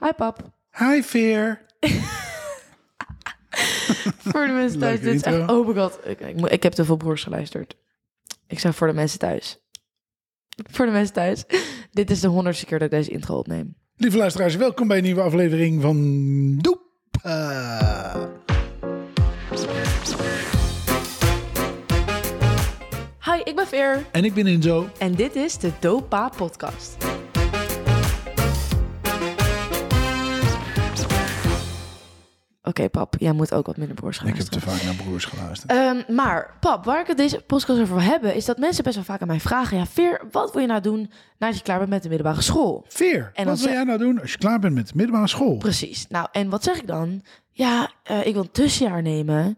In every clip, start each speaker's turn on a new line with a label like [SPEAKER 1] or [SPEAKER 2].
[SPEAKER 1] Hi pap.
[SPEAKER 2] Hi Veer.
[SPEAKER 1] Voor de mensen thuis.
[SPEAKER 2] Leuke
[SPEAKER 1] Dit is echt,
[SPEAKER 2] intro.
[SPEAKER 1] oh my god. Ik, ik, moet- ik heb te veel broers geluisterd. Ik zeg voor de mensen thuis. Voor de mensen thuis. Dit is de honderdste keer dat ik deze intro opneem.
[SPEAKER 2] Lieve luisteraars, welkom bij een nieuwe aflevering van Doep. Eh,
[SPEAKER 1] Hi, ik ben Veer.
[SPEAKER 2] en ik ben Inzo.
[SPEAKER 1] En dit is de Dopa podcast. Oké pap, jij moet ook wat minder broers gaan
[SPEAKER 2] Ik heb
[SPEAKER 1] luisteren.
[SPEAKER 2] te vaak naar broers geluisterd.
[SPEAKER 1] Ehm, maar pap, waar ik het deze podcast over wil hebben... is dat mensen best wel vaak aan mij vragen... ja, Veer, wat wil je nou doen nadat je klaar bent met de middelbare school?
[SPEAKER 2] Veer,
[SPEAKER 1] dan
[SPEAKER 2] wat wil
[SPEAKER 1] ze-
[SPEAKER 2] jij nou doen als je klaar bent met de middelbare school?
[SPEAKER 1] Precies. Nou, en wat zeg ik dan? Ja, eh, ik wil een tussenjaar nemen. En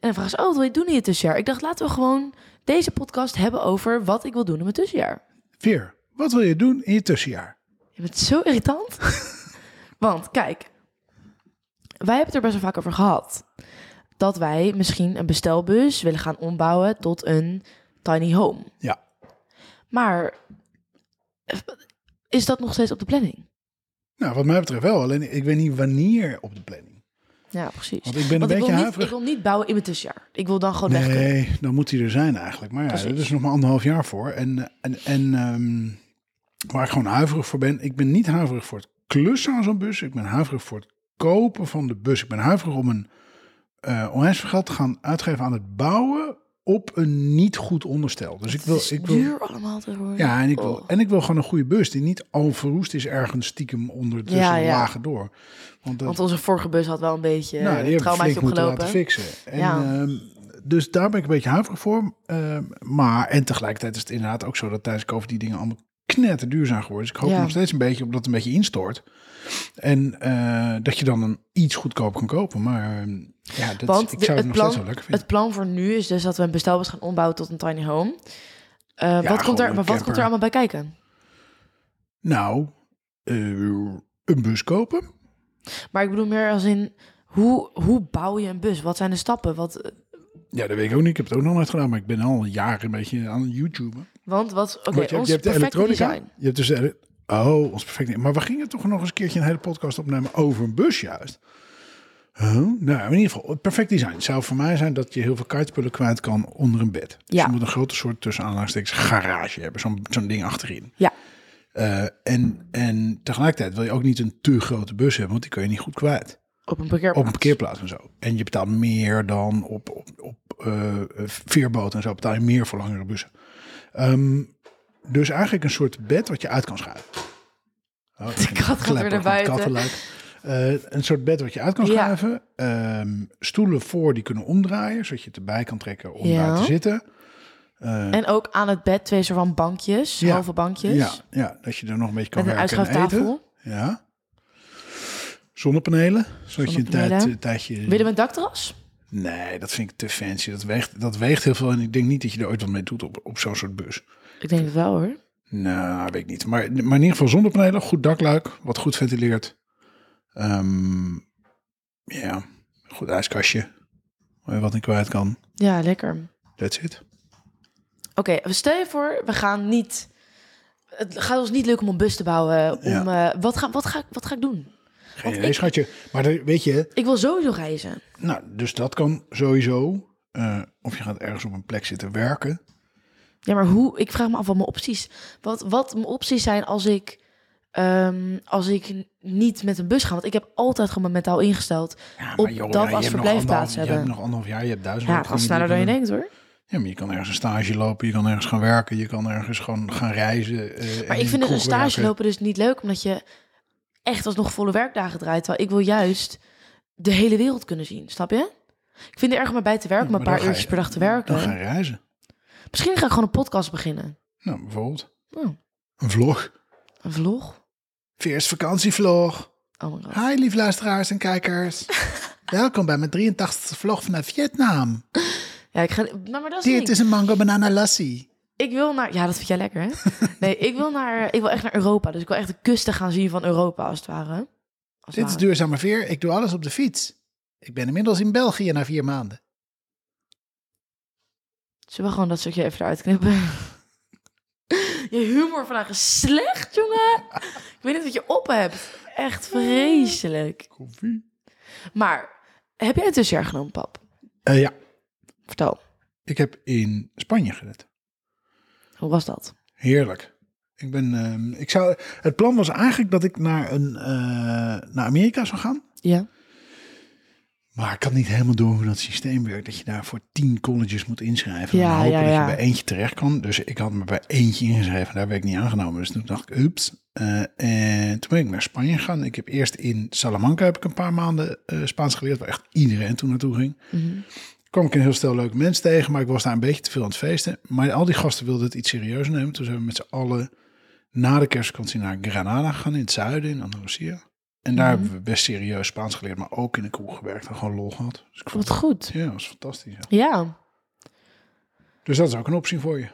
[SPEAKER 1] dan vragen ze, oh, wat wil je doen in je tussenjaar? Ik dacht, laten we gewoon deze podcast hebben over wat ik wil doen in mijn tussenjaar.
[SPEAKER 2] Veer, wat wil je doen in je tussenjaar?
[SPEAKER 1] Je bent zo irritant. Want, kijk. Wij hebben het er best wel vaak over gehad. Dat wij misschien een bestelbus willen gaan ombouwen tot een tiny home.
[SPEAKER 2] Ja.
[SPEAKER 1] Maar eh, is dat nog steeds op de planning?
[SPEAKER 2] Nou, wat mij betreft wel. Alleen ik weet niet wanneer op de planning.
[SPEAKER 1] Ja, precies.
[SPEAKER 2] Want ik ben een
[SPEAKER 1] ik
[SPEAKER 2] beetje
[SPEAKER 1] wil, niet,
[SPEAKER 2] huiverig.
[SPEAKER 1] ik wil niet bouwen in mijn tussenjaar. Ik wil dan gewoon weg kunnen.
[SPEAKER 2] Nee, dan moet hij er zijn eigenlijk. Maar ja,
[SPEAKER 1] Precies.
[SPEAKER 2] er is nog maar anderhalf jaar voor. En, en, en ehm, waar ik gewoon huiverig voor ben, ik ben niet huiverig voor het klussen aan zo'n bus. Ik ben huiverig voor het kopen van de bus. Ik ben huiverig om een eh onwijs veel geld te gaan uitgeven aan het bouwen op een niet goed onderstel. Dus ik wil,
[SPEAKER 1] Het is
[SPEAKER 2] ik wil,
[SPEAKER 1] duur allemaal te worden.
[SPEAKER 2] ja, en ik wil,
[SPEAKER 1] Oh.
[SPEAKER 2] en ik wil gewoon een goede bus die niet al verroest is ergens stiekem onder tussen
[SPEAKER 1] Ja,
[SPEAKER 2] de
[SPEAKER 1] ja.
[SPEAKER 2] lagen door. Want dat,
[SPEAKER 1] Want onze vorige bus had wel een beetje
[SPEAKER 2] nou, die
[SPEAKER 1] nou,
[SPEAKER 2] hebben we
[SPEAKER 1] traumaatje
[SPEAKER 2] flink moeten laten
[SPEAKER 1] opgelopen.
[SPEAKER 2] fixen. En,
[SPEAKER 1] Ja.
[SPEAKER 2] ehm, dus daar ben ik een beetje huiverig voor. Ehm, maar, en tegelijkertijd is het inderdaad ook zo dat tijdens COVID die dingen allemaal knetter duur zijn geworden. Dus ik hoop
[SPEAKER 1] Ja.
[SPEAKER 2] nog steeds een beetje op dat het een beetje instort. En eh, dat je dan een iets goedkoop kan kopen. Maar ehm, ja, dat,
[SPEAKER 1] Want
[SPEAKER 2] ik
[SPEAKER 1] de-
[SPEAKER 2] zou
[SPEAKER 1] het
[SPEAKER 2] het nog
[SPEAKER 1] plan-
[SPEAKER 2] steeds wel lekker vinden.
[SPEAKER 1] Het plan voor nu is dus dat we een bestelbus gaan ombouwen tot een tiny home. Eh, wat
[SPEAKER 2] gewoon
[SPEAKER 1] komt er,
[SPEAKER 2] een
[SPEAKER 1] maar wat komt
[SPEAKER 2] camper.
[SPEAKER 1] er allemaal bij kijken?
[SPEAKER 2] Nou, eh, een bus kopen.
[SPEAKER 1] Maar ik bedoel meer als in, hoe, hoe bouw je een bus? Wat zijn de stappen? Wat, eh,
[SPEAKER 2] Ja, dat weet ik ook niet. Ik heb het ook nog nooit gedaan, maar ik ben al jaren een beetje aan het YouTuben.
[SPEAKER 1] want wat, oké,
[SPEAKER 2] Want je, hebt-
[SPEAKER 1] ons
[SPEAKER 2] je hebt de
[SPEAKER 1] perfecte
[SPEAKER 2] elektronica.
[SPEAKER 1] design.
[SPEAKER 2] Je hebt dus de ele- Oh, ons perfect. niet. Maar we gingen toch nog eens een keertje een hele podcast opnemen over een bus juist. Huh? Nou, in ieder geval, perfect design. Het zou voor mij zijn dat je heel veel kaartspullen kwijt kan onder een bed. Dus
[SPEAKER 1] Ja.
[SPEAKER 2] je moet een grote soort tussen aanhalingstekens garage hebben. Zo'n zo'n ding achterin.
[SPEAKER 1] Ja,
[SPEAKER 2] Eh, en, en tegelijkertijd wil je ook niet een te grote bus hebben, want die kun je niet goed kwijt.
[SPEAKER 1] op een parkeerplaats.
[SPEAKER 2] Op een parkeerplaats en zo. En je betaalt meer dan op, op, op eh, veerboot en zo betaal je meer voor langere bussen. Ehm, dus eigenlijk een soort bed wat je uit kan schuiven. Oh, dat
[SPEAKER 1] kat gaat weer
[SPEAKER 2] gelepper van
[SPEAKER 1] naar
[SPEAKER 2] het
[SPEAKER 1] buiten.
[SPEAKER 2] kattenluik. Eh, een soort bed wat je uit kan
[SPEAKER 1] Ja.
[SPEAKER 2] schuiven. Ehm, stoelen voor die kunnen omdraaien, zodat je het erbij kan trekken om
[SPEAKER 1] Ja.
[SPEAKER 2] daar te zitten. Eh,
[SPEAKER 1] En ook aan het bed twee soort van bankjes,
[SPEAKER 2] Ja.
[SPEAKER 1] halve bankjes.
[SPEAKER 2] ja, ja, dat je er nog een beetje kan
[SPEAKER 1] met een
[SPEAKER 2] werken en
[SPEAKER 1] uitschuiftafel.
[SPEAKER 2] eten. Ja. Zonnepanelen, zodat je een tijd,
[SPEAKER 1] Zonnepanelen.
[SPEAKER 2] een tijdje...
[SPEAKER 1] Willen we een dakterras?
[SPEAKER 2] Nee, dat vind ik te fancy. Dat weegt, dat weegt heel veel. En ik denk niet dat je er ooit wat mee doet op, op zo'n soort bus.
[SPEAKER 1] Ik denk het wel hoor.
[SPEAKER 2] Nou, weet ik niet. Maar, maar in ieder geval zonnepanelen, goed dakluik, wat goed ventileert. Ehm, ja, goed ijskastje. Waar je wat in kwijt kan.
[SPEAKER 1] Ja, lekker.
[SPEAKER 2] That's it.
[SPEAKER 1] Oké, stel je voor, we gaan niet. Het gaat ons niet lukken om een bus te bouwen. Om, eh, wat, ga, wat, ga, ik- wat ga ik doen?
[SPEAKER 2] Geen
[SPEAKER 1] Want
[SPEAKER 2] idee,
[SPEAKER 1] ik-
[SPEAKER 2] schatje. Maar daar- weet je,
[SPEAKER 1] Ik wil sowieso reizen.
[SPEAKER 2] nou, dus dat kan sowieso. Eh, of je gaat ergens op een plek zitten werken.
[SPEAKER 1] Ja, maar hoe? Ik vraag me af wat mijn opties. Wat, wat mijn opties zijn als ik. ehm, als ik n- niet met een bus ga. Want ik heb altijd gewoon mijn mentaal ingesteld.
[SPEAKER 2] Ja,
[SPEAKER 1] Op dat als
[SPEAKER 2] hebt nog
[SPEAKER 1] verblijfplaats
[SPEAKER 2] anderhalf-
[SPEAKER 1] hebben.
[SPEAKER 2] Je hebt nog anderhalf jaar, je hebt duizend
[SPEAKER 1] Ja,
[SPEAKER 2] dingen
[SPEAKER 1] dat is
[SPEAKER 2] die je
[SPEAKER 1] sneller dan je
[SPEAKER 2] kan doen.
[SPEAKER 1] denkt hoor.
[SPEAKER 2] Ja, maar je kan ergens een stage lopen, je kan ergens gaan werken, je kan ergens gewoon gaan reizen. eh, en
[SPEAKER 1] Maar
[SPEAKER 2] in
[SPEAKER 1] ik vind dus
[SPEAKER 2] kroeg
[SPEAKER 1] een stage
[SPEAKER 2] werken.
[SPEAKER 1] lopen dus niet leuk. Omdat je echt alsnog volle werkdagen draait. Terwijl ik wil juist de hele wereld kunnen zien. Snap je? Ik vind het erg om erbij te werken.
[SPEAKER 2] Ja,
[SPEAKER 1] om een
[SPEAKER 2] maar dan
[SPEAKER 1] paar
[SPEAKER 2] ga je-
[SPEAKER 1] uurtjes per dag te werken.
[SPEAKER 2] Dan gaan reizen.
[SPEAKER 1] Misschien ga ik gewoon een podcast beginnen.
[SPEAKER 2] Nou, bijvoorbeeld
[SPEAKER 1] Oh,
[SPEAKER 2] een vlog.
[SPEAKER 1] een vlog?
[SPEAKER 2] Eerst vakantievlog.
[SPEAKER 1] Oh my god.
[SPEAKER 2] Hi, lieve luisteraars en kijkers. Welkom bij mijn 83e vlog vanuit
[SPEAKER 1] Oh,
[SPEAKER 2] Vietnam.
[SPEAKER 1] Ja, ik ga... Nou, maar dat is het
[SPEAKER 2] Dit
[SPEAKER 1] ding.
[SPEAKER 2] is een mango banana lassi.
[SPEAKER 1] Ik wil naar... Ja, dat vind jij lekker, hè? Nee, ik wil, naar... ik wil echt naar Europa. Dus ik wil echt de kusten gaan zien van Europa, als het ware. Als
[SPEAKER 2] Dit is
[SPEAKER 1] het
[SPEAKER 2] duurzame veer. Ik doe alles op de fiets. Ik ben inmiddels in België na vier maanden.
[SPEAKER 1] ware. Zullen we gewoon dat stukje even eruit knippen? Je humor vandaag is slecht, jongen. Ik weet niet wat je op hebt. Echt vreselijk.
[SPEAKER 2] Koffie.
[SPEAKER 1] Maar heb jij een tussenjaar genomen, pap?
[SPEAKER 2] Eh, ja,
[SPEAKER 1] Vertel,
[SPEAKER 2] ik heb in Spanje gered.
[SPEAKER 1] hoe was dat?
[SPEAKER 2] Heerlijk. Ik ben, ehm, ik zou, het plan was eigenlijk dat ik naar, een, eh, naar Amerika zou gaan.
[SPEAKER 1] Ja.
[SPEAKER 2] Maar ik kan niet helemaal door hoe dat systeem werkt. Dat je daar voor tien colleges moet inschrijven. en
[SPEAKER 1] Ja,
[SPEAKER 2] dan hopen
[SPEAKER 1] ja,
[SPEAKER 2] dat
[SPEAKER 1] ja.
[SPEAKER 2] je bij eentje terecht kan. Dus ik had me bij eentje ingeschreven. Daar werd ik niet aangenomen. Dus toen dacht ik, ups. Eh, en toen ben ik naar Spanje gegaan. Ik heb eerst in Salamanca heb ik een paar maanden eh, Spaans geleerd. Waar echt iedereen toen naartoe ging.
[SPEAKER 1] Mhm.
[SPEAKER 2] kwam ik een heel stel leuke mensen tegen. Maar ik was daar een beetje te veel aan het feesten. Maar al die gasten wilden het iets serieuzer nemen. Toen zijn we met z'n allen na de kerstvakantie naar Granada gegaan. In het zuiden, in Andalusië. En daar
[SPEAKER 1] Mhm.
[SPEAKER 2] hebben we best serieus Spaans geleerd. Maar ook in de kroeg gewerkt en gewoon lol gehad. Dus ik vond
[SPEAKER 1] Wat goed.
[SPEAKER 2] ja, dat is fantastisch. ja.
[SPEAKER 1] Ja.
[SPEAKER 2] Dus dat is ook een optie voor je.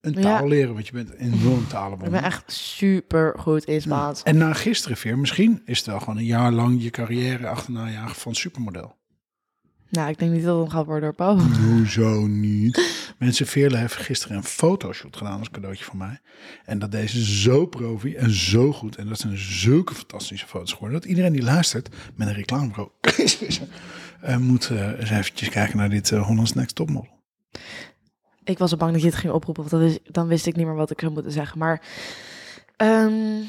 [SPEAKER 2] Een
[SPEAKER 1] Ja.
[SPEAKER 2] taal leren, want je bent enorm
[SPEAKER 1] Ik
[SPEAKER 2] talenbond.
[SPEAKER 1] ben echt super goed in Spaans.
[SPEAKER 2] En na gisteren weer, misschien is het wel gewoon een jaar lang je carrière achterna jagen van supermodel.
[SPEAKER 1] Nou, ik denk niet dat het een grap wordt door pap.
[SPEAKER 2] Hoezo niet? Mensen, Veerle heeft gisteren een fotoshoot gedaan als cadeautje van mij. En dat deze zo profi en zo goed. En dat zijn dus zulke fantastische foto's geworden. Dat iedereen die luistert met een reclamebureau eh, moet eh, eens eventjes kijken naar dit eh, Holland's Next Topmodel.
[SPEAKER 1] Ik was al bang dat je het ging oproepen, want dat is, dan wist ik niet meer wat ik zou moeten zeggen. Maar ehm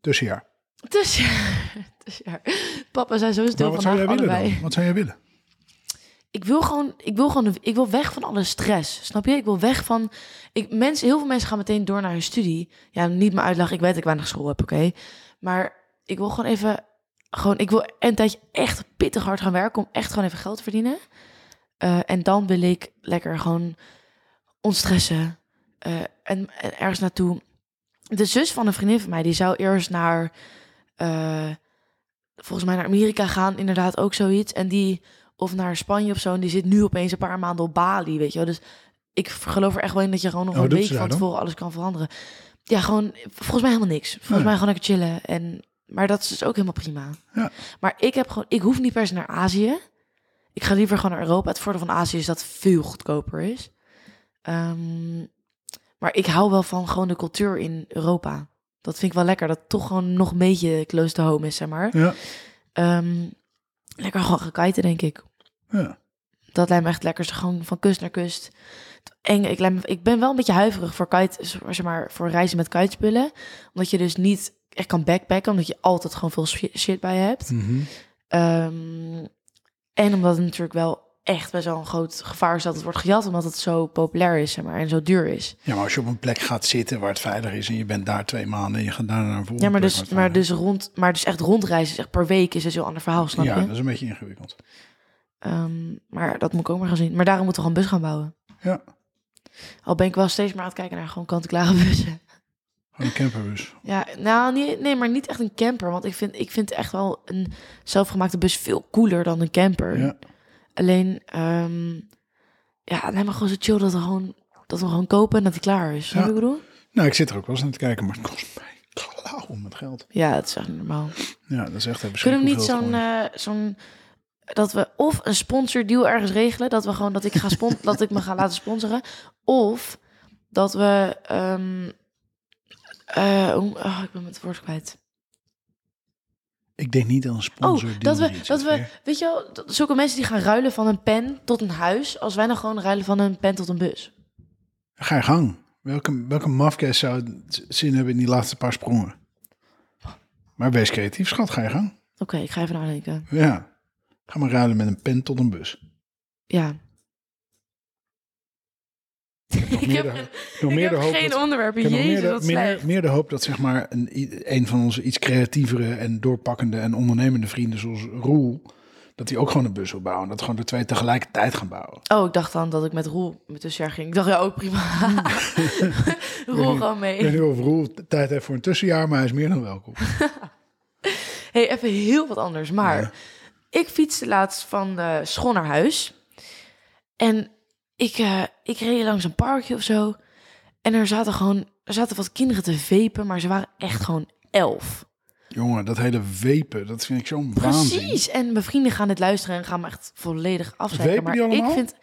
[SPEAKER 2] Dus ja.
[SPEAKER 1] tussenjaar, tussenjaar. Papa zijn zo
[SPEAKER 2] Maar
[SPEAKER 1] stil
[SPEAKER 2] wat zou jij
[SPEAKER 1] vandaag
[SPEAKER 2] willen
[SPEAKER 1] allebei.
[SPEAKER 2] dan? Wat zou jij willen?
[SPEAKER 1] Ik wil gewoon, ik wil gewoon, ik wil weg van alle stress. Snap je? Ik wil weg van, ik, mensen, heel veel mensen gaan meteen door naar hun studie. Ja, niet me uitlachen. Ik weet dat ik weinig school heb, oké. Maar ik wil gewoon even, gewoon, ik wil een tijdje echt pittig hard gaan werken om echt gewoon even geld te verdienen. Eh, en dan wil ik lekker gewoon ontstressen eh, en, en ergens naartoe. De zus van een vriendin van mij, die zou eerst naar, eh, volgens mij naar Amerika gaan, inderdaad ook zoiets. En die, of naar Spanje of zo, en die zit nu opeens een paar maanden op Bali, weet je wel. Dus ik geloof er echt wel in dat je gewoon nog
[SPEAKER 2] Oh,
[SPEAKER 1] een
[SPEAKER 2] wat doet
[SPEAKER 1] week
[SPEAKER 2] ze daar
[SPEAKER 1] van
[SPEAKER 2] dan?
[SPEAKER 1] tevoren alles kan veranderen. Ja, gewoon, volgens mij helemaal niks. Volgens
[SPEAKER 2] ja.
[SPEAKER 1] mij gewoon lekker chillen. En, maar dat is dus ook helemaal prima.
[SPEAKER 2] Ja.
[SPEAKER 1] Maar ik heb gewoon, ik hoef niet per se naar Azië. Ik ga liever gewoon naar Europa. Het voordeel van Azië is dat het veel goedkoper is. Ehm, maar ik hou wel van gewoon de cultuur in Europa. Dat vind ik wel lekker. Dat het toch gewoon nog een beetje close to home is, zeg maar.
[SPEAKER 2] Ja.
[SPEAKER 1] Ehm, lekker gewoon gaan kiten, denk ik.
[SPEAKER 2] Ja.
[SPEAKER 1] Dat lijkt me echt lekker. Gewoon van kust naar kust. Eng, ik, lijkt me- ik ben wel een beetje huiverig voor, kite, zeg maar, voor reizen met kitespullen. Omdat je dus niet echt kan backpacken. Omdat je altijd gewoon veel shi- shit bij je hebt.
[SPEAKER 2] Mhm.
[SPEAKER 1] Ehm, en omdat het natuurlijk wel echt best wel een groot gevaar is dat het wordt gejat. Omdat het zo populair is zeg maar, en zo duur is.
[SPEAKER 2] Ja, maar als je op een plek gaat zitten waar het veilig is en je bent daar twee maanden en je gaat daar naar een volgende
[SPEAKER 1] Ja, maar
[SPEAKER 2] plek
[SPEAKER 1] dus,
[SPEAKER 2] waar
[SPEAKER 1] maar
[SPEAKER 2] het veilig
[SPEAKER 1] dus, rond, maar dus echt rondreizen, is echt per week, is dus een heel ander verhaal, snap
[SPEAKER 2] is. Ja,
[SPEAKER 1] je?
[SPEAKER 2] dat is een beetje ingewikkeld.
[SPEAKER 1] Ehm, maar dat moet ik ook maar gaan zien. Maar daarom moeten we gewoon bus gaan bouwen.
[SPEAKER 2] Ja,
[SPEAKER 1] Al ben ik wel steeds maar aan het kijken naar gewoon kant-en-klare bussen.
[SPEAKER 2] gewoon een camperbus.
[SPEAKER 1] Ja, nou, niet, nee, maar niet echt een camper. Want ik vind, ik vind echt wel een zelfgemaakte bus veel cooler dan een camper.
[SPEAKER 2] Ja.
[SPEAKER 1] Alleen, ehm, ja, nee, maar gewoon zo chill dat we gewoon, dat we hem gewoon kopen en dat hij klaar is. Snap je
[SPEAKER 2] Ja.
[SPEAKER 1] wat ik bedoel?
[SPEAKER 2] Nou, ik zit er ook wel eens aan te kijken, maar het kost mij klauw met geld.
[SPEAKER 1] Ja, dat is echt niet normaal.
[SPEAKER 2] Ja, dat is echt even
[SPEAKER 1] Kunnen we
[SPEAKER 2] schrik
[SPEAKER 1] niet
[SPEAKER 2] hoeveel
[SPEAKER 1] zo'n,
[SPEAKER 2] het
[SPEAKER 1] eh, zo'n dat we of een sponsordeal ergens regelen, dat we gewoon dat ik ga spon dat ik me ga laten sponsoren, of dat we ehm, eh, hoe- oh, ik ben met het woord kwijt.
[SPEAKER 2] gewoon is. Ik denk niet aan een
[SPEAKER 1] Oh,
[SPEAKER 2] sponsor.
[SPEAKER 1] dat we dat we weet je wel, dat- zulke mensen die gaan ruilen van een pen tot een huis, als wij nou gewoon ruilen van een pen tot een bus.
[SPEAKER 2] Ga je gang. Welke, welke mafkees zou het zin hebben in die laatste paar sprongen? Maar wees creatief, schat. Ga je gang.
[SPEAKER 1] Oké, ik ga even nadenken.
[SPEAKER 2] Ja. Ga maar ruilen met een pen tot een bus.
[SPEAKER 1] Ja. Ik
[SPEAKER 2] meer
[SPEAKER 1] heb,
[SPEAKER 2] de-
[SPEAKER 1] een-
[SPEAKER 2] Nog
[SPEAKER 1] ik
[SPEAKER 2] meer de
[SPEAKER 1] heb
[SPEAKER 2] hoop
[SPEAKER 1] geen
[SPEAKER 2] dat,
[SPEAKER 1] onderwerp.
[SPEAKER 2] ik heb nog meer
[SPEAKER 1] Jezus,
[SPEAKER 2] de,
[SPEAKER 1] wat
[SPEAKER 2] meer,
[SPEAKER 1] slecht.
[SPEAKER 2] meer de hoop dat zeg maar een, een van onze iets creatievere en doorpakkende en ondernemende vrienden zoals Roel, dat hij ook gewoon een bus wil bouwen. Dat gewoon de twee tegelijkertijd gaan bouwen.
[SPEAKER 1] Oh, ik dacht dan dat ik met Roel met tussenjaar ging. Ik dacht, ja, ook prima. Roel gewoon
[SPEAKER 2] Ik weet
[SPEAKER 1] mee.
[SPEAKER 2] niet of Roel t- tijd heeft voor een tussenjaar, maar hij is meer dan welkom.
[SPEAKER 1] hey, even heel wat anders. Maar
[SPEAKER 2] Ja.
[SPEAKER 1] ik fietste laatst van eh school naar huis. En ik, eh, ik reed langs een parkje of zo. En er zaten gewoon er zaten wat kinderen te vepen, maar ze waren echt gewoon elf.
[SPEAKER 2] Jongen, dat hele wepen, dat vind ik zo'n waanzin.
[SPEAKER 1] Precies. En mijn vrienden gaan dit luisteren en gaan me echt volledig afzeiken.
[SPEAKER 2] Wepen
[SPEAKER 1] Maar
[SPEAKER 2] die
[SPEAKER 1] ik
[SPEAKER 2] allemaal?
[SPEAKER 1] vind...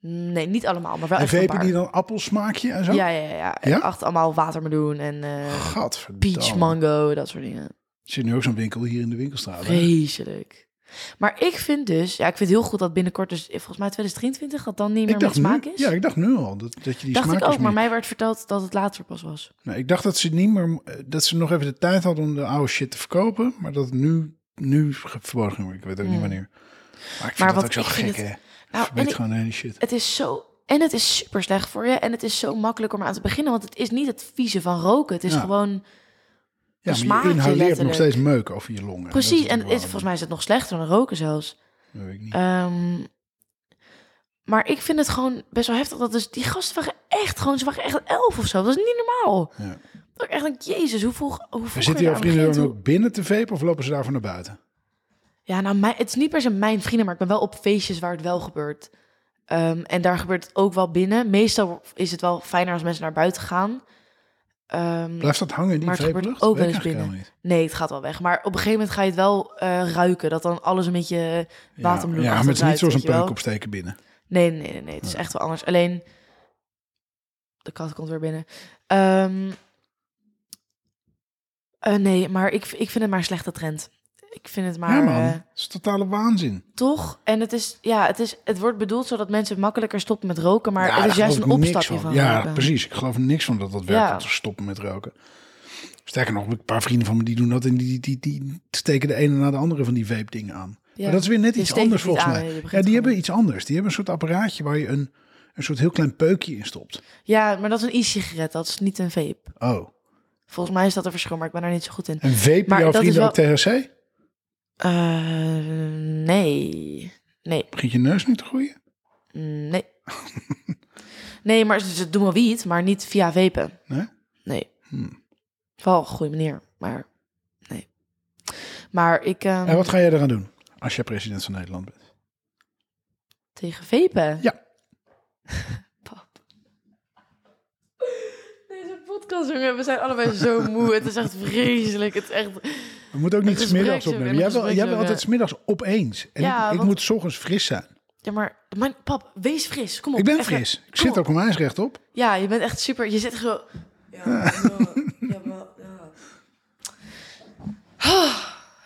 [SPEAKER 1] Nee, niet allemaal, maar wel
[SPEAKER 2] en
[SPEAKER 1] echt een
[SPEAKER 2] vepen
[SPEAKER 1] paar.
[SPEAKER 2] die dan appelsmaakje en zo?
[SPEAKER 1] Ja, ja, ja. ja.
[SPEAKER 2] Ja?
[SPEAKER 1] Achter allemaal watermeloen en eh,
[SPEAKER 2] Gadverdamme.
[SPEAKER 1] peach mango, dat soort dingen.
[SPEAKER 2] Er zit nu ook zo'n winkel hier in de winkelstraat. hè?
[SPEAKER 1] Vreselijk. Maar ik vind dus, ja, ik vind het heel goed dat binnenkort, dus volgens mij 2023, dat dan niet meer met
[SPEAKER 2] nu-
[SPEAKER 1] smaak is.
[SPEAKER 2] Ja, ik dacht nu al dat, dat je die
[SPEAKER 1] dacht
[SPEAKER 2] smaak
[SPEAKER 1] ik ook, maar mij werd verteld dat het later pas was.
[SPEAKER 2] Nee, ik dacht dat ze niet meer dat ze nog even de tijd hadden om de oude shit te verkopen, maar dat het nu nu ge- verboden ging worden. Ik weet ook niet wanneer. Maar ik vind
[SPEAKER 1] Maar
[SPEAKER 2] dat
[SPEAKER 1] wat
[SPEAKER 2] ook zo
[SPEAKER 1] ik
[SPEAKER 2] gek,
[SPEAKER 1] vind
[SPEAKER 2] hè?
[SPEAKER 1] het- Nou,
[SPEAKER 2] Verbied
[SPEAKER 1] en ik-
[SPEAKER 2] gewoon de hele shit.
[SPEAKER 1] het is zo. En het is super slecht voor je. En het is zo makkelijk om aan te beginnen. Want het is niet het vieze van roken. Het is
[SPEAKER 2] Ja.
[SPEAKER 1] gewoon.
[SPEAKER 2] Ja,
[SPEAKER 1] een
[SPEAKER 2] maar
[SPEAKER 1] smaakje
[SPEAKER 2] je inhaleert nog
[SPEAKER 1] letterlijk.
[SPEAKER 2] steeds meuk over je longen.
[SPEAKER 1] Precies. En het is, volgens mij is het nog slechter dan roken zelfs.
[SPEAKER 2] mij... Weet ik niet.
[SPEAKER 1] Ehm, maar ik vind het gewoon best wel heftig. Dat dus die gasten waren echt gewoon. Ze waren echt elf of zo. Dat is niet normaal.
[SPEAKER 2] Ja.
[SPEAKER 1] Dat ik echt denk, Jezus, hoe vroeg. Hoe vroeg
[SPEAKER 2] Zitten jouw vrienden dan
[SPEAKER 1] vrienden
[SPEAKER 2] ook binnen te vepen of lopen ze daarvoor naar buiten?
[SPEAKER 1] Ja, nou, mijn, het is niet per se mijn vrienden, maar ik ben wel op feestjes waar het wel gebeurt. Ehm, en daar gebeurt het ook wel binnen. Meestal is het wel fijner als mensen naar buiten gaan. Ehm,
[SPEAKER 2] Blijft dat hangen in die
[SPEAKER 1] Maar het gebeurt
[SPEAKER 2] veeplucht?
[SPEAKER 1] ook
[SPEAKER 2] Weet
[SPEAKER 1] wel
[SPEAKER 2] ik
[SPEAKER 1] eens
[SPEAKER 2] eigenlijk helemaal
[SPEAKER 1] Nee, het gaat wel weg. Maar op een gegeven moment ga je het wel eh, ruiken. Dat dan alles een beetje
[SPEAKER 2] niet.
[SPEAKER 1] watermeloen
[SPEAKER 2] Ja, ja, maar het is niet
[SPEAKER 1] achteruit,
[SPEAKER 2] zoals een
[SPEAKER 1] weet je wel.
[SPEAKER 2] peuk opsteken binnen.
[SPEAKER 1] Nee, nee, nee, nee. Het is echt wel anders. Alleen. De kat komt weer binnen. Ehm, eh, nee, maar ik, ik vind het maar een slechte trend. Ik vind het maar. eh,
[SPEAKER 2] ja, man. Het is totale waanzin.
[SPEAKER 1] toch? En het is. Ja, het, is, het wordt bedoeld zodat mensen makkelijker stoppen met roken. Maar
[SPEAKER 2] Ja,
[SPEAKER 1] het
[SPEAKER 2] daar
[SPEAKER 1] is juist een
[SPEAKER 2] geloof ik niks
[SPEAKER 1] opstapje van.
[SPEAKER 2] Ja,
[SPEAKER 1] roken.
[SPEAKER 2] precies. Ik geloof er niks van dat dat werkt
[SPEAKER 1] Ja.
[SPEAKER 2] om te stoppen met roken. Sterker nog, een paar vrienden van me die doen dat en die, die, die steken de ene na de andere van die vape dingen aan.
[SPEAKER 1] Ja.
[SPEAKER 2] Maar dat is weer net
[SPEAKER 1] Je
[SPEAKER 2] iets
[SPEAKER 1] steekt het
[SPEAKER 2] anders
[SPEAKER 1] niet
[SPEAKER 2] volgens
[SPEAKER 1] aan,
[SPEAKER 2] mij.
[SPEAKER 1] hè, je begint
[SPEAKER 2] Ja, die
[SPEAKER 1] gewoon-
[SPEAKER 2] hebben iets anders. Die hebben een soort apparaatje waar je een, een soort heel klein peukje in stopt.
[SPEAKER 1] Ja, maar dat is een e-sigaret. Dat is niet een vape.
[SPEAKER 2] Oh,
[SPEAKER 1] Volgens mij is dat een verschil, maar ik ben daar niet zo goed in.
[SPEAKER 2] en vape
[SPEAKER 1] Maar
[SPEAKER 2] jouw
[SPEAKER 1] dat
[SPEAKER 2] vrienden
[SPEAKER 1] is
[SPEAKER 2] ook THC?
[SPEAKER 1] Eh, nee. Nee.
[SPEAKER 2] Begint je neus nu te groeien?
[SPEAKER 1] Mm, Nee. nee, maar ze, ze doen wel wiet, maar niet via vapen.
[SPEAKER 2] Nee?
[SPEAKER 1] Nee.
[SPEAKER 2] Hmm.
[SPEAKER 1] Wel een goede manier, maar nee. Maar ik... ehm,
[SPEAKER 2] En wat ga jij eraan doen als jij president van Nederland bent?
[SPEAKER 1] Tegen vapen?
[SPEAKER 2] Ja.
[SPEAKER 1] Pap. Deze podcast, jongen, we zijn allebei zo moe. Het is echt vreselijk. Het is echt...
[SPEAKER 2] We moeten ook
[SPEAKER 1] Een
[SPEAKER 2] niet smiddags
[SPEAKER 1] gespreks-
[SPEAKER 2] opnemen.
[SPEAKER 1] een
[SPEAKER 2] Jij wil, jij wil
[SPEAKER 1] gespreksjongen.
[SPEAKER 2] altijd smiddags opeens. En
[SPEAKER 1] Ja,
[SPEAKER 2] ik, ik
[SPEAKER 1] want-
[SPEAKER 2] moet 's ochtends fris zijn.
[SPEAKER 1] Ja, maar... Mijn, pap, wees fris. Kom op.
[SPEAKER 2] Ik ben
[SPEAKER 1] even.
[SPEAKER 2] fris. Ik
[SPEAKER 1] Kom
[SPEAKER 2] zit
[SPEAKER 1] op.
[SPEAKER 2] ook onwijs recht op.
[SPEAKER 1] Ja, je bent echt super. Je zit zo. Ja, ja, wel, ja.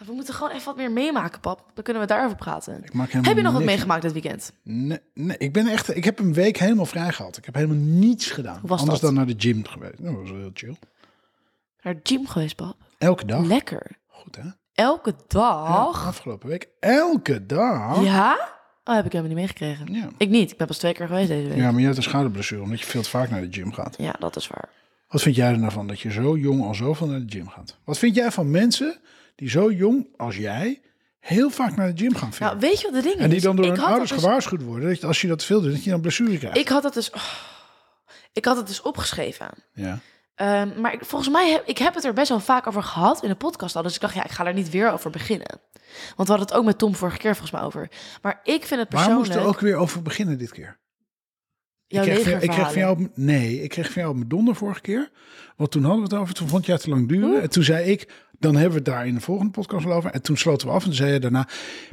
[SPEAKER 1] We moeten gewoon even wat meer meemaken, pap. Dan kunnen we daarover praten.
[SPEAKER 2] Ik maak helemaal
[SPEAKER 1] Heb je nog wat
[SPEAKER 2] niks
[SPEAKER 1] meegemaakt dit weekend?
[SPEAKER 2] Nee, nee, ik ben echt. Ik heb een week helemaal vrij gehad. Ik heb helemaal niets gedaan.
[SPEAKER 1] Hoe was
[SPEAKER 2] Anders
[SPEAKER 1] dat?
[SPEAKER 2] dan naar de gym geweest. Nou, Dat was wel heel chill.
[SPEAKER 1] Naar de gym geweest, pap.
[SPEAKER 2] Elke dag.
[SPEAKER 1] Lekker.
[SPEAKER 2] Goed hè?
[SPEAKER 1] Elke dag.
[SPEAKER 2] Afgelopen week. Elke dag. Ja,
[SPEAKER 1] Ja? Oh, heb ik helemaal niet meegekregen.
[SPEAKER 2] Ja.
[SPEAKER 1] Ik niet. Ik ben pas twee keer geweest deze week. Ja,
[SPEAKER 2] maar je hebt een schouderblessure omdat je veel te vaak naar de gym gaat.
[SPEAKER 1] dat is waar.
[SPEAKER 2] Wat vind jij er nou van dat je zo jong al zoveel naar de gym gaat? Wat vind jij van mensen die zo jong als jij heel vaak naar de gym gaan veel?
[SPEAKER 1] Nou, weet je wat de ding is?
[SPEAKER 2] en die dan door
[SPEAKER 1] Ik
[SPEAKER 2] hun
[SPEAKER 1] had dat
[SPEAKER 2] ouders
[SPEAKER 1] dus-
[SPEAKER 2] gewaarschuwd worden dat je- als je dat veel doet, dat je dan blessure krijgt.
[SPEAKER 1] Ik had dat dus... ik had het dus opgeschreven.
[SPEAKER 2] Ja.
[SPEAKER 1] Ehm, maar ik- volgens mij heb ik heb het er best wel vaak over gehad in de podcast al. Dus ik dacht, ja, ik ga er niet weer over beginnen. Want we hadden het ook met Tom vorige keer volgens mij over. Maar ik vind het
[SPEAKER 2] Waar
[SPEAKER 1] persoonlijk...
[SPEAKER 2] moesten we ook weer over beginnen dit keer?
[SPEAKER 1] jouw
[SPEAKER 2] ik, kreeg, van- ik
[SPEAKER 1] legerverhalen.
[SPEAKER 2] kreeg van jou, op- nee, ik kreeg van jou op mijn donder vorige keer. Want toen hadden we het over, toen vond jij het te lang duren.
[SPEAKER 1] Hm?
[SPEAKER 2] En toen zei ik, dan hebben we het daar in de volgende podcast wel over. En toen sloten we af en toen zei je daarna,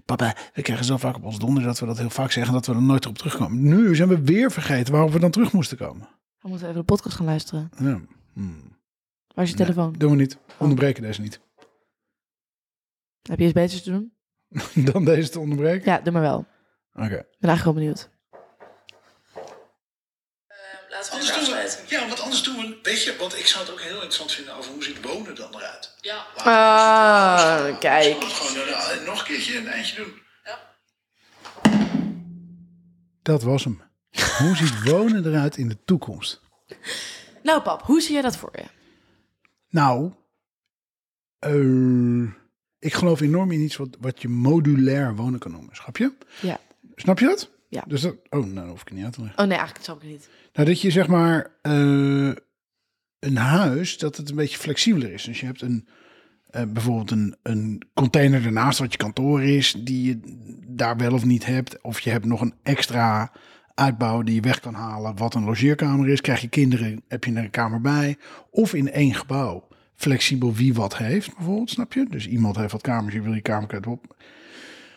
[SPEAKER 2] papa, we krijgen zo vaak op ons donder dat we dat heel vaak zeggen, dat we er nooit op terugkomen. Nu zijn we weer vergeten waarop we dan terug moesten komen.
[SPEAKER 1] We moeten even de podcast gaan luisteren.
[SPEAKER 2] Ja, hmm.
[SPEAKER 1] Waar is je telefoon? Oh.
[SPEAKER 2] Doen we niet. Onderbreken deze niet.
[SPEAKER 1] Heb je iets beters te doen?
[SPEAKER 2] dan deze te onderbreken.
[SPEAKER 1] Ja, doe maar wel.
[SPEAKER 2] Oké.
[SPEAKER 1] Ik ben eigenlijk wel benieuwd.
[SPEAKER 2] Anders doen we, ja, want anders doen we, weet je, want ik zou het ook heel interessant vinden over hoe ziet wonen dan eruit. Ja.
[SPEAKER 1] Ah, kijk.
[SPEAKER 2] Gewoon eh, nou, nog een keertje een eindje doen. Dat was hem. Hoe ziet wonen eruit in de toekomst?
[SPEAKER 1] Nou pap, hoe zie jij dat voor je?
[SPEAKER 2] Nou, eh, ik geloof enorm in iets wat, wat je modulair wonen kan noemen. Snap je?
[SPEAKER 1] Ja.
[SPEAKER 2] Snap je dat?
[SPEAKER 1] Ja.
[SPEAKER 2] Dus dat, oh, nou dat hoef ik het niet uit te leggen.
[SPEAKER 1] Oh nee, eigenlijk snap ik het niet.
[SPEAKER 2] Nou, dat je zeg maar eh, een huis, dat het een beetje flexibeler is. Dus je hebt een, eh, bijvoorbeeld een, een container ernaast wat je kantoor is, die je daar wel of niet hebt. Of je hebt nog een extra uitbouw die je weg kan halen, wat een logeerkamer is. Krijg je kinderen, heb je er een kamer bij. Of in één gebouw, flexibel wie wat heeft bijvoorbeeld, snap je? Dus iemand heeft wat kamers, je wil je kamer op.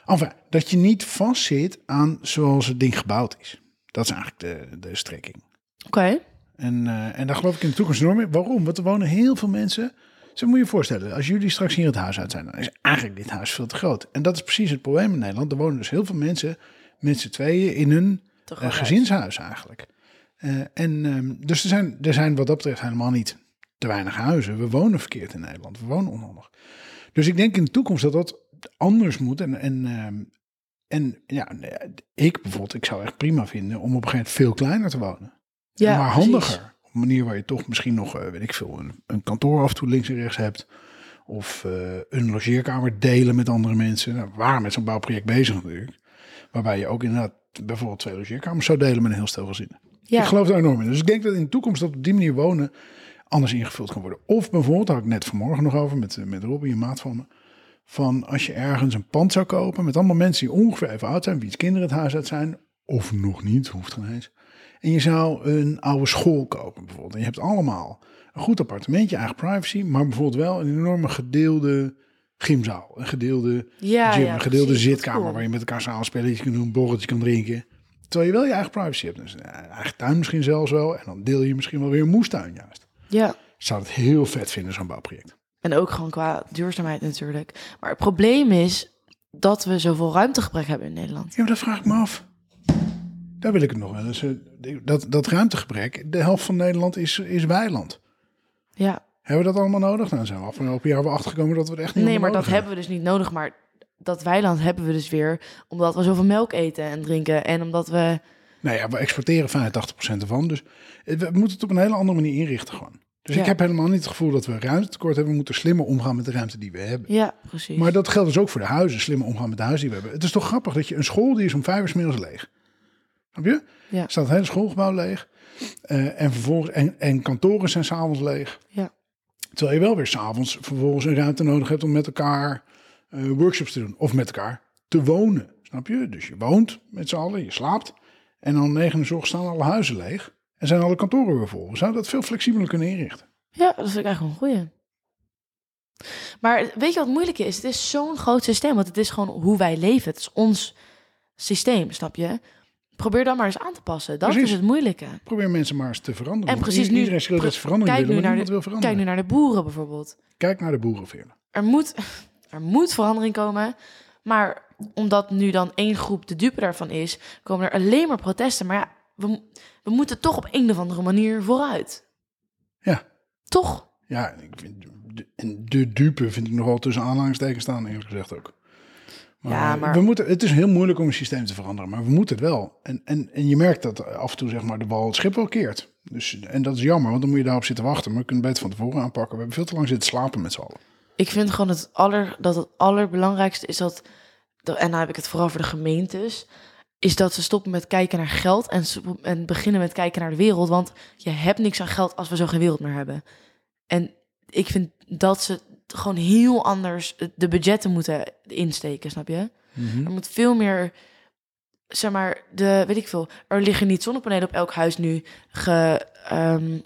[SPEAKER 2] Enfin, dat je niet vastzit aan zoals het ding gebouwd is. Dat is eigenlijk de, de strekking.
[SPEAKER 1] Oké.
[SPEAKER 2] En, eh, en daar geloof ik in de toekomst enorm in. Waarom? Want er wonen heel veel mensen. Ze moet je je voorstellen, als jullie straks hier het huis uit zijn, dan is eigenlijk dit huis veel te groot. En dat is precies het probleem in Nederland. Er wonen dus heel veel mensen met z'n tweeën in hun
[SPEAKER 1] Te
[SPEAKER 2] eh,
[SPEAKER 1] groot huis.
[SPEAKER 2] gezinshuis eigenlijk. Eh, en, ehm, dus er zijn, er zijn wat dat betreft helemaal niet te weinig huizen. We wonen verkeerd in Nederland. We wonen onhandig. Dus ik denk in de toekomst dat dat anders moet. En, en, ehm, en ja, ik bijvoorbeeld, ik zou echt prima vinden om op een gegeven moment veel kleiner te wonen
[SPEAKER 1] Ja,
[SPEAKER 2] maar
[SPEAKER 1] precies.
[SPEAKER 2] handiger. Op een manier waar je toch misschien nog, eh, weet ik veel, een, een kantoor af en toe links en rechts hebt. Of eh, een logeerkamer delen met andere mensen. Nou, we waren met zo'n bouwproject bezig natuurlijk. Waarbij je ook inderdaad bijvoorbeeld twee logeerkamers zou delen met een heel stel gezinnen.
[SPEAKER 1] Ja.
[SPEAKER 2] Ik geloof daar enorm in. Dus ik denk dat in de toekomst dat op die manier wonen anders ingevuld kan worden. Of bijvoorbeeld, daar had ik net vanmorgen nog over met, eh, met Robbie, een maat van me. Van als je ergens een pand zou kopen met allemaal mensen die ongeveer even oud zijn. Wiens kinderen het huis uit zijn. Of nog niet, hoeft geen eens. En je zou een oude school kopen bijvoorbeeld. En je hebt allemaal een goed appartementje, eigen privacy. Maar bijvoorbeeld wel een enorme gedeelde gymzaal. Een gedeelde
[SPEAKER 1] Ja,
[SPEAKER 2] gym,
[SPEAKER 1] ja,
[SPEAKER 2] een
[SPEAKER 1] precies.
[SPEAKER 2] gedeelde
[SPEAKER 1] Dat is
[SPEAKER 2] zitkamer
[SPEAKER 1] cool.
[SPEAKER 2] waar je met elkaar samen spelletjes kunt doen, een borreltje kan drinken. Terwijl je wel je eigen privacy hebt. Dus een eigen tuin misschien zelfs wel. En dan deel je misschien wel weer een moestuin juist.
[SPEAKER 1] Ja.
[SPEAKER 2] Ik zou het heel vet vinden, zo'n bouwproject.
[SPEAKER 1] En ook gewoon qua duurzaamheid natuurlijk. Maar het probleem is dat we zoveel ruimtegebrek hebben in Nederland.
[SPEAKER 2] Ja, maar dat vraag ik me af. Daar wil ik het nog wel eens. eh, Dat, dat ruimtegebrek, de helft van Nederland is, is weiland.
[SPEAKER 1] Ja.
[SPEAKER 2] Hebben we dat allemaal nodig? Nou, zijn we afgelopen jaar wel achtergekomen dat we het echt niet
[SPEAKER 1] Nee, maar
[SPEAKER 2] allemaal
[SPEAKER 1] dat
[SPEAKER 2] nodig
[SPEAKER 1] hebben we dus niet nodig. Maar dat weiland hebben we dus weer omdat we zoveel melk eten en drinken. En omdat we...
[SPEAKER 2] Nou ja, we exporteren 85% ervan. Dus het- we moeten het op een hele andere manier inrichten gewoon. Dus
[SPEAKER 1] Ja.
[SPEAKER 2] ik heb helemaal niet het gevoel dat we ruimtetekort hebben. We moeten slimmer omgaan met de ruimte die we hebben.
[SPEAKER 1] Ja, precies.
[SPEAKER 2] Maar dat geldt dus ook voor de huizen. Slimmer omgaan met de huizen die we hebben. Het is toch grappig dat je een school die is om vijf uur 's middags leeg. Snap je?
[SPEAKER 1] Ja.
[SPEAKER 2] Staat het hele schoolgebouw leeg. Eh, en, vervolgens, en, en kantoren zijn s'avonds leeg.
[SPEAKER 1] Ja.
[SPEAKER 2] Terwijl je wel weer s'avonds vervolgens een ruimte nodig hebt om met elkaar eh, workshops te doen. Of met elkaar te wonen. Snap je? Dus je woont met z'n allen, je slaapt. En dan om negen uur 's ochtends staan alle huizen leeg. En zijn alle kantoren weer vol. We zouden dat veel flexibeler kunnen inrichten.
[SPEAKER 1] Ja, dat vind ik eigenlijk wel een goeie. Maar weet je wat het moeilijke is? Het is zo'n groot systeem, want het is gewoon hoe wij leven. Het is ons systeem, snap je? Probeer dan maar eens aan te passen. Dat
[SPEAKER 2] Precies.
[SPEAKER 1] is het moeilijke.
[SPEAKER 2] Probeer mensen maar eens te veranderen.
[SPEAKER 1] En
[SPEAKER 2] Want
[SPEAKER 1] precies nu-
[SPEAKER 2] Iedereen schreeuwt dat ze verandering
[SPEAKER 1] kijk
[SPEAKER 2] willen,
[SPEAKER 1] nu
[SPEAKER 2] maar
[SPEAKER 1] naar
[SPEAKER 2] niemand wil
[SPEAKER 1] Kijk
[SPEAKER 2] veranderen.
[SPEAKER 1] nu naar de boeren bijvoorbeeld.
[SPEAKER 2] Kijk naar de boerenveerle.
[SPEAKER 1] Er moet, er moet verandering komen, maar omdat nu dan één groep de dupe daarvan is, komen er alleen maar protesten. Maar ja, we, mo- we moeten toch op een of andere manier vooruit.
[SPEAKER 2] Ja.
[SPEAKER 1] Toch?
[SPEAKER 2] Ja, en ik vind de, en de dupe vind ik nogal tussen aanhalingstekens staan, eerlijk gezegd ook. Maar,
[SPEAKER 1] Ja,
[SPEAKER 2] eh,
[SPEAKER 1] maar-
[SPEAKER 2] We moeten, het is heel moeilijk om een systeem te veranderen, maar we moeten het wel. En, en, en je merkt dat af en toe zeg maar, de bal het schip wel keert. Dus, en dat is jammer, want dan moet je daarop zitten wachten. Maar we kunnen het beter van tevoren aanpakken. We hebben veel te lang zitten slapen met z'n allen.
[SPEAKER 1] Ik vind gewoon het aller, dat het allerbelangrijkste is dat, dat- en dan heb ik het vooral voor de gemeentes, is dat ze stoppen met kijken naar geld en, stop- en beginnen met kijken naar de wereld. Want je hebt niks aan geld als we zo geen wereld meer hebben. En ik vind dat ze het gewoon heel anders eh, de budgetten moeten insteken, snap je? Er moet veel meer, zeg maar, de, weet ik veel, er liggen niet zonnepanelen op elk huis nu ge, ehm,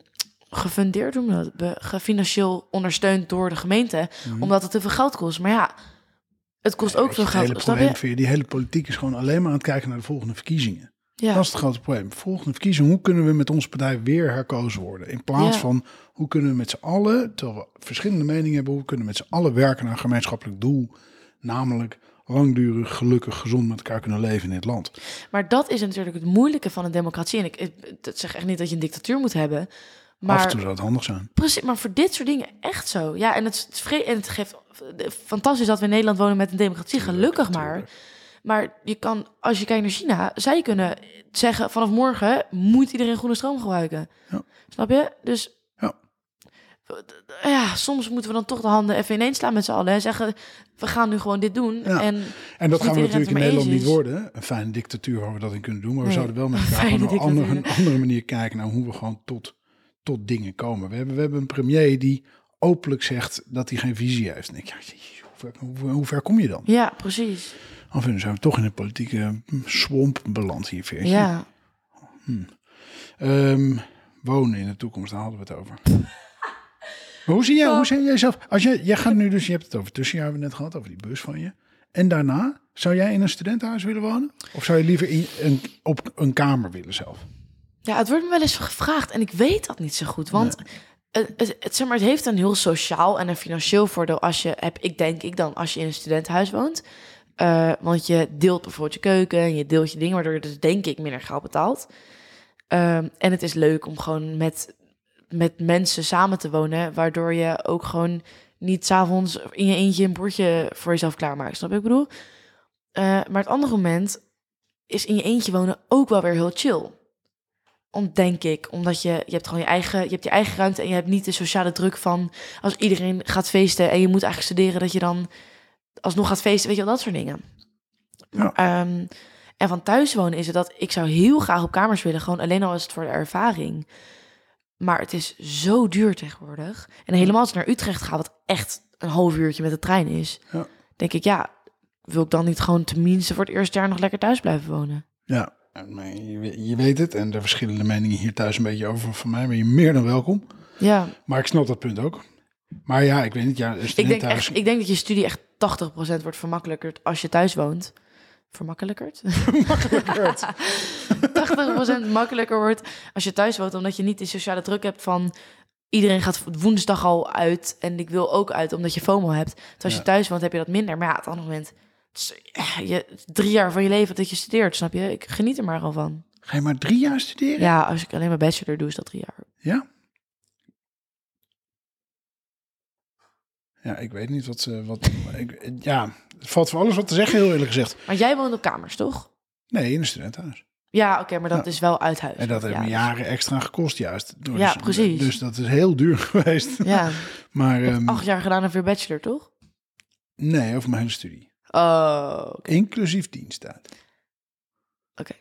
[SPEAKER 1] gefundeerd, hoe noem je dat, Be- gefinancieel ondersteund door de gemeente,
[SPEAKER 2] Mhm.
[SPEAKER 1] omdat het te veel geld kost. Maar ja, het kost ook
[SPEAKER 2] Weet je,
[SPEAKER 1] veel
[SPEAKER 2] het hele
[SPEAKER 1] geld. Snap
[SPEAKER 2] probleem
[SPEAKER 1] je?
[SPEAKER 2] vind je, die hele politiek is gewoon alleen maar aan het kijken naar de volgende verkiezingen.
[SPEAKER 1] Ja,
[SPEAKER 2] Dat is het grote probleem. Volgende verkiezing, hoe kunnen we met onze partij weer herkozen worden? In plaats
[SPEAKER 1] Ja.
[SPEAKER 2] van hoe kunnen we met z'n allen, terwijl we verschillende meningen hebben, hoe kunnen we met z'n allen werken naar een gemeenschappelijk doel? Namelijk langdurig, gelukkig, gezond met elkaar kunnen leven in dit land.
[SPEAKER 1] maar dat is natuurlijk het moeilijke van een democratie. En ik, ik dat zeg echt niet dat je een dictatuur moet hebben,
[SPEAKER 2] Af en
[SPEAKER 1] maar
[SPEAKER 2] toe zou het handig zijn.
[SPEAKER 1] Precies, maar voor dit soort dingen echt zo. Ja, en het, is- het, is vre- en het geeft fantastisch dat we in Nederland wonen met een democratie, gelukkig maar. Maar je kan, als je kijkt naar China, zij kunnen zeggen vanaf morgen moet iedereen groene stroom gebruiken.
[SPEAKER 2] Ja.
[SPEAKER 1] Snap je? Dus
[SPEAKER 2] Ja.
[SPEAKER 1] ja, soms moeten we dan toch de handen even ineens slaan met z'n allen en zeggen we gaan nu gewoon dit doen.
[SPEAKER 2] Ja.
[SPEAKER 1] En
[SPEAKER 2] En dat
[SPEAKER 1] Dus
[SPEAKER 2] gaan we
[SPEAKER 1] niet iedereen het
[SPEAKER 2] natuurlijk in
[SPEAKER 1] ermee
[SPEAKER 2] Nederland
[SPEAKER 1] eens
[SPEAKER 2] niet
[SPEAKER 1] is.
[SPEAKER 2] worden. Een fijne dictatuur waar we dat in kunnen doen. Maar we
[SPEAKER 1] Nee,
[SPEAKER 2] zouden wel met
[SPEAKER 1] een
[SPEAKER 2] elkaar
[SPEAKER 1] fijne
[SPEAKER 2] gewoon een andere, een
[SPEAKER 1] dictatuur.
[SPEAKER 2] andere manier kijken naar hoe we gewoon tot, tot dingen komen. We hebben, we hebben een premier die openlijk zegt dat hij geen visie heeft. En ik, ja, jezus, hoe, ver, hoe, hoe ver kom je dan?
[SPEAKER 1] ja, precies.
[SPEAKER 2] Of dan zijn we toch in een politieke mm, swamp beland hier, Veertje.
[SPEAKER 1] Ja.
[SPEAKER 2] Ehm, wonen in de toekomst, daar hadden we het over. Maar hoe zie jij, hoe zie jij zelf? Als jij, jij gaat nu dus, je hebt het over tussenjaar hebben we net gehad, over die bus van je. En daarna, zou jij in een studentenhuis willen wonen? Of zou je liever in een, op een kamer willen zelf?
[SPEAKER 1] Ja, het wordt me wel eens gevraagd en ik weet dat niet zo goed. Want het, het, het- zeg maar, het heeft een heel sociaal en een financieel voordeel als je, heb ik denk ik dan, als je in een studentenhuis woont. Eh, want je deelt bijvoorbeeld je keuken en je deelt je dingen, waardoor je dus denk ik minder geld betaalt. Ehm, en het is leuk om gewoon met, met mensen samen te wonen, waardoor je ook gewoon niet s'avonds in je eentje een bordje voor jezelf klaarmaakt. Snap je wat ik bedoel? Eh, maar het andere moment is in je eentje wonen ook wel weer heel chill om, denk ik, omdat je, je hebt gewoon je eigen, je hebt je eigen ruimte en je hebt niet de sociale druk van als iedereen gaat feesten en je moet eigenlijk studeren dat je dan alsnog gaat feesten, weet je wel, dat soort dingen.
[SPEAKER 2] Ja.
[SPEAKER 1] Ehm, en van thuis wonen is het dat ik zou heel graag op kamers willen, gewoon alleen al is het voor de ervaring. Maar het is zo duur tegenwoordig. En helemaal als ik naar Utrecht ga, wat echt een half uurtje met de trein is,
[SPEAKER 2] Ja.
[SPEAKER 1] denk ik, ja, wil ik dan niet gewoon tenminste voor het eerste jaar nog lekker thuis blijven wonen?
[SPEAKER 2] Ja, maar je, we- je weet het. En de verschillende meningen hier thuis een beetje over van mij. Ben je meer dan welkom.
[SPEAKER 1] Ja,
[SPEAKER 2] Maar ik snap dat punt ook. Maar ja, ik weet niet. Ja, een
[SPEAKER 1] Ik denk,
[SPEAKER 2] studentenhuis...
[SPEAKER 1] echt, ik denk dat je studie echt 80% wordt vermakkelijkerd als je thuis woont. Vermakkelijkerd?
[SPEAKER 2] Makkelijker.
[SPEAKER 1] 80% makkelijker wordt als je thuis woont, omdat je niet die sociale druk hebt van iedereen gaat woensdag al uit en ik wil ook uit omdat je FOMO hebt. Terwijl als
[SPEAKER 2] Ja.
[SPEAKER 1] je thuis woont heb je dat minder. Maar ja, op het andere moment, het is, eh, je, drie jaar van je leven dat je studeert, snap je? Ik geniet er maar al van.
[SPEAKER 2] Ga je maar drie jaar studeren? Ja.
[SPEAKER 1] Ja, als ik alleen mijn bachelor doe, is dat drie jaar.
[SPEAKER 2] ja? ik weet niet wat ze... Wat, ik, ja, het valt voor alles wat te zeggen, heel eerlijk gezegd.
[SPEAKER 1] Maar jij woont op kamers, toch?
[SPEAKER 2] Nee, in een studentenhuis.
[SPEAKER 1] Ja, oké, maar dat is wel uit huis.
[SPEAKER 2] En dat heeft me
[SPEAKER 1] ja. dus
[SPEAKER 2] jaren extra gekost, juist. Dus,
[SPEAKER 1] Ja, precies.
[SPEAKER 2] Dus dat is heel duur geweest.
[SPEAKER 1] Ja,
[SPEAKER 2] Maar ehm,
[SPEAKER 1] acht jaar gedaan over je bachelor, toch?
[SPEAKER 2] nee, over mijn hele studie.
[SPEAKER 1] Oh, oké.
[SPEAKER 2] Inclusief diensttijd.
[SPEAKER 1] Oké.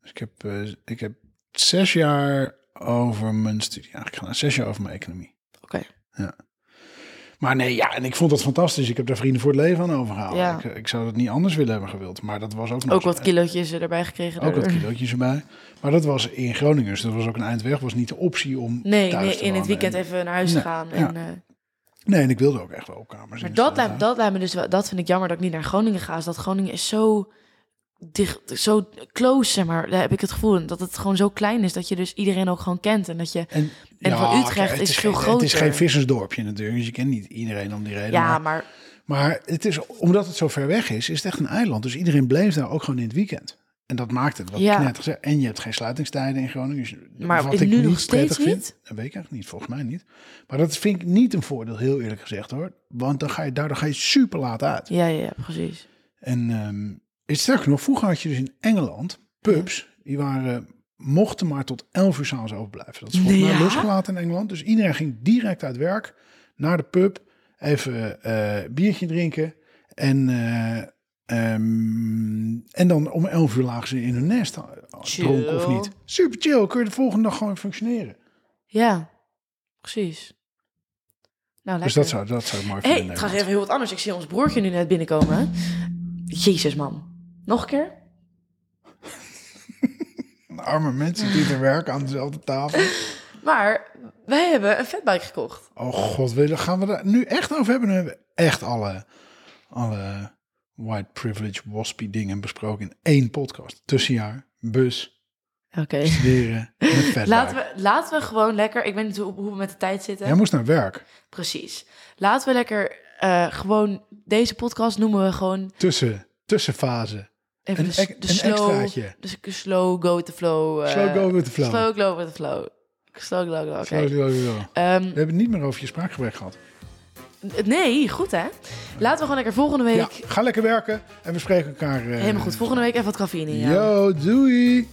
[SPEAKER 2] Dus ik heb, eh, ik heb zes jaar over mijn studie eigenlijk gedaan. Zes jaar over mijn economie.
[SPEAKER 1] Oké.
[SPEAKER 2] Ja. Maar nee, ja, en ik vond dat fantastisch. Ik heb daar vrienden voor het leven aan overgehaald.
[SPEAKER 1] Ja.
[SPEAKER 2] Ik, ik zou dat niet anders willen hebben gewild. Maar dat was ook nog
[SPEAKER 1] Ook
[SPEAKER 2] zo-
[SPEAKER 1] wat kilootjes erbij gekregen.
[SPEAKER 2] Ook wat
[SPEAKER 1] daardoor.
[SPEAKER 2] kilootjes erbij. Maar dat was in Groningen. Dus dat was ook een eindweg. Was niet de optie om
[SPEAKER 1] Nee,
[SPEAKER 2] thuis
[SPEAKER 1] nee
[SPEAKER 2] te
[SPEAKER 1] in het
[SPEAKER 2] wonen.
[SPEAKER 1] weekend
[SPEAKER 2] En-
[SPEAKER 1] even naar huis
[SPEAKER 2] Nee,
[SPEAKER 1] gaan.
[SPEAKER 2] ja.
[SPEAKER 1] En, eh,
[SPEAKER 2] Nee, en ik wilde ook echt wel op kamers.
[SPEAKER 1] maar
[SPEAKER 2] in
[SPEAKER 1] dat
[SPEAKER 2] Amsterdam.
[SPEAKER 1] lijkt, dat lijkt me dus wel, dat vind ik jammer dat ik niet naar Groningen ga. Is dat Groningen is zo dicht, zo close, zeg maar. Daar heb ik het gevoel dat het gewoon zo klein is dat je dus iedereen ook gewoon kent. En dat je,
[SPEAKER 2] En,
[SPEAKER 1] En van Utrecht
[SPEAKER 2] kijk,
[SPEAKER 1] is veel
[SPEAKER 2] geen, Het is
[SPEAKER 1] groter.
[SPEAKER 2] geen vissersdorpje natuurlijk, dus je kent niet iedereen om die reden.
[SPEAKER 1] ja,
[SPEAKER 2] maar,
[SPEAKER 1] maar
[SPEAKER 2] maar het is, omdat het zo ver weg is, is het echt een eiland. Dus iedereen bleef daar ook gewoon in het weekend. En dat maakt het wat
[SPEAKER 1] Ja.
[SPEAKER 2] ik net gezegd. En je hebt geen sluitingstijden in Groningen. Dus
[SPEAKER 1] Maar
[SPEAKER 2] wat
[SPEAKER 1] is
[SPEAKER 2] ik
[SPEAKER 1] nu nog
[SPEAKER 2] niet prettig
[SPEAKER 1] steeds
[SPEAKER 2] vind,
[SPEAKER 1] niet?
[SPEAKER 2] Dat weet ik eigenlijk niet, volgens mij niet. Maar dat vind ik niet een voordeel, heel eerlijk gezegd hoor. Want dan ga je, daardoor ga je super laat uit.
[SPEAKER 1] ja, ja, ja, precies.
[SPEAKER 2] En ehm, het sterker nog, vroeger had je dus in Engeland pubs, die waren, mochten maar tot 11 uur s'avonds open blijven. Dat is volgens mij
[SPEAKER 1] Ja?
[SPEAKER 2] losgelaten in Engeland. Dus iedereen ging direct uit werk naar de pub, even eh biertje drinken. En, eh, ehm, en dan om 11 uur lagen ze in hun nest, eh, dronken of
[SPEAKER 1] Chill.
[SPEAKER 2] niet. Super chill, kun je de volgende dag gewoon functioneren.
[SPEAKER 1] Ja, precies. Nou, lekker.
[SPEAKER 2] Dus dat zou, dat zou ik mooi
[SPEAKER 1] Hé,
[SPEAKER 2] vinden.
[SPEAKER 1] hey,
[SPEAKER 2] in
[SPEAKER 1] trouwens
[SPEAKER 2] Nederland.
[SPEAKER 1] even heel wat anders. Ik zie ons broertje nu net binnenkomen. Jezus, man. Nog een keer?
[SPEAKER 2] Arme mensen die te werken aan dezelfde tafel.
[SPEAKER 1] Maar wij hebben een fatbike gekocht.
[SPEAKER 2] Oh god, willen- gaan we daar nu echt over hebben? Nu hebben we echt alle, alle white privilege waspy dingen besproken in één podcast. Tussenjaar, bus,
[SPEAKER 1] Oké.
[SPEAKER 2] studeren en een fatbike.
[SPEAKER 1] Laten we, laten we gewoon lekker... Ik weet niet hoe, hoe we met de tijd zitten.
[SPEAKER 2] Jij moest naar werk.
[SPEAKER 1] Precies. Laten we lekker eh, gewoon... Deze podcast noemen we gewoon...
[SPEAKER 2] Tussen, tussenfase.
[SPEAKER 1] Even
[SPEAKER 2] Een
[SPEAKER 1] de, s-
[SPEAKER 2] ek-
[SPEAKER 1] de
[SPEAKER 2] een
[SPEAKER 1] slow,
[SPEAKER 2] extraatje.
[SPEAKER 1] de s- slow go with the flow. eh,
[SPEAKER 2] Slow go with the flow.
[SPEAKER 1] Slow go with the flow. Slow go with the flow.
[SPEAKER 2] Zo,
[SPEAKER 1] Oké.
[SPEAKER 2] zo, zo.
[SPEAKER 1] Ehm,
[SPEAKER 2] We hebben het niet meer over je spraakgebrek gehad.
[SPEAKER 1] nee, goed hè? Laten we gewoon lekker volgende week...
[SPEAKER 2] Ja, ga lekker werken en we spreken elkaar. eh,
[SPEAKER 1] Helemaal goed. Volgende week even wat cafeïne in.
[SPEAKER 2] Yo, doei!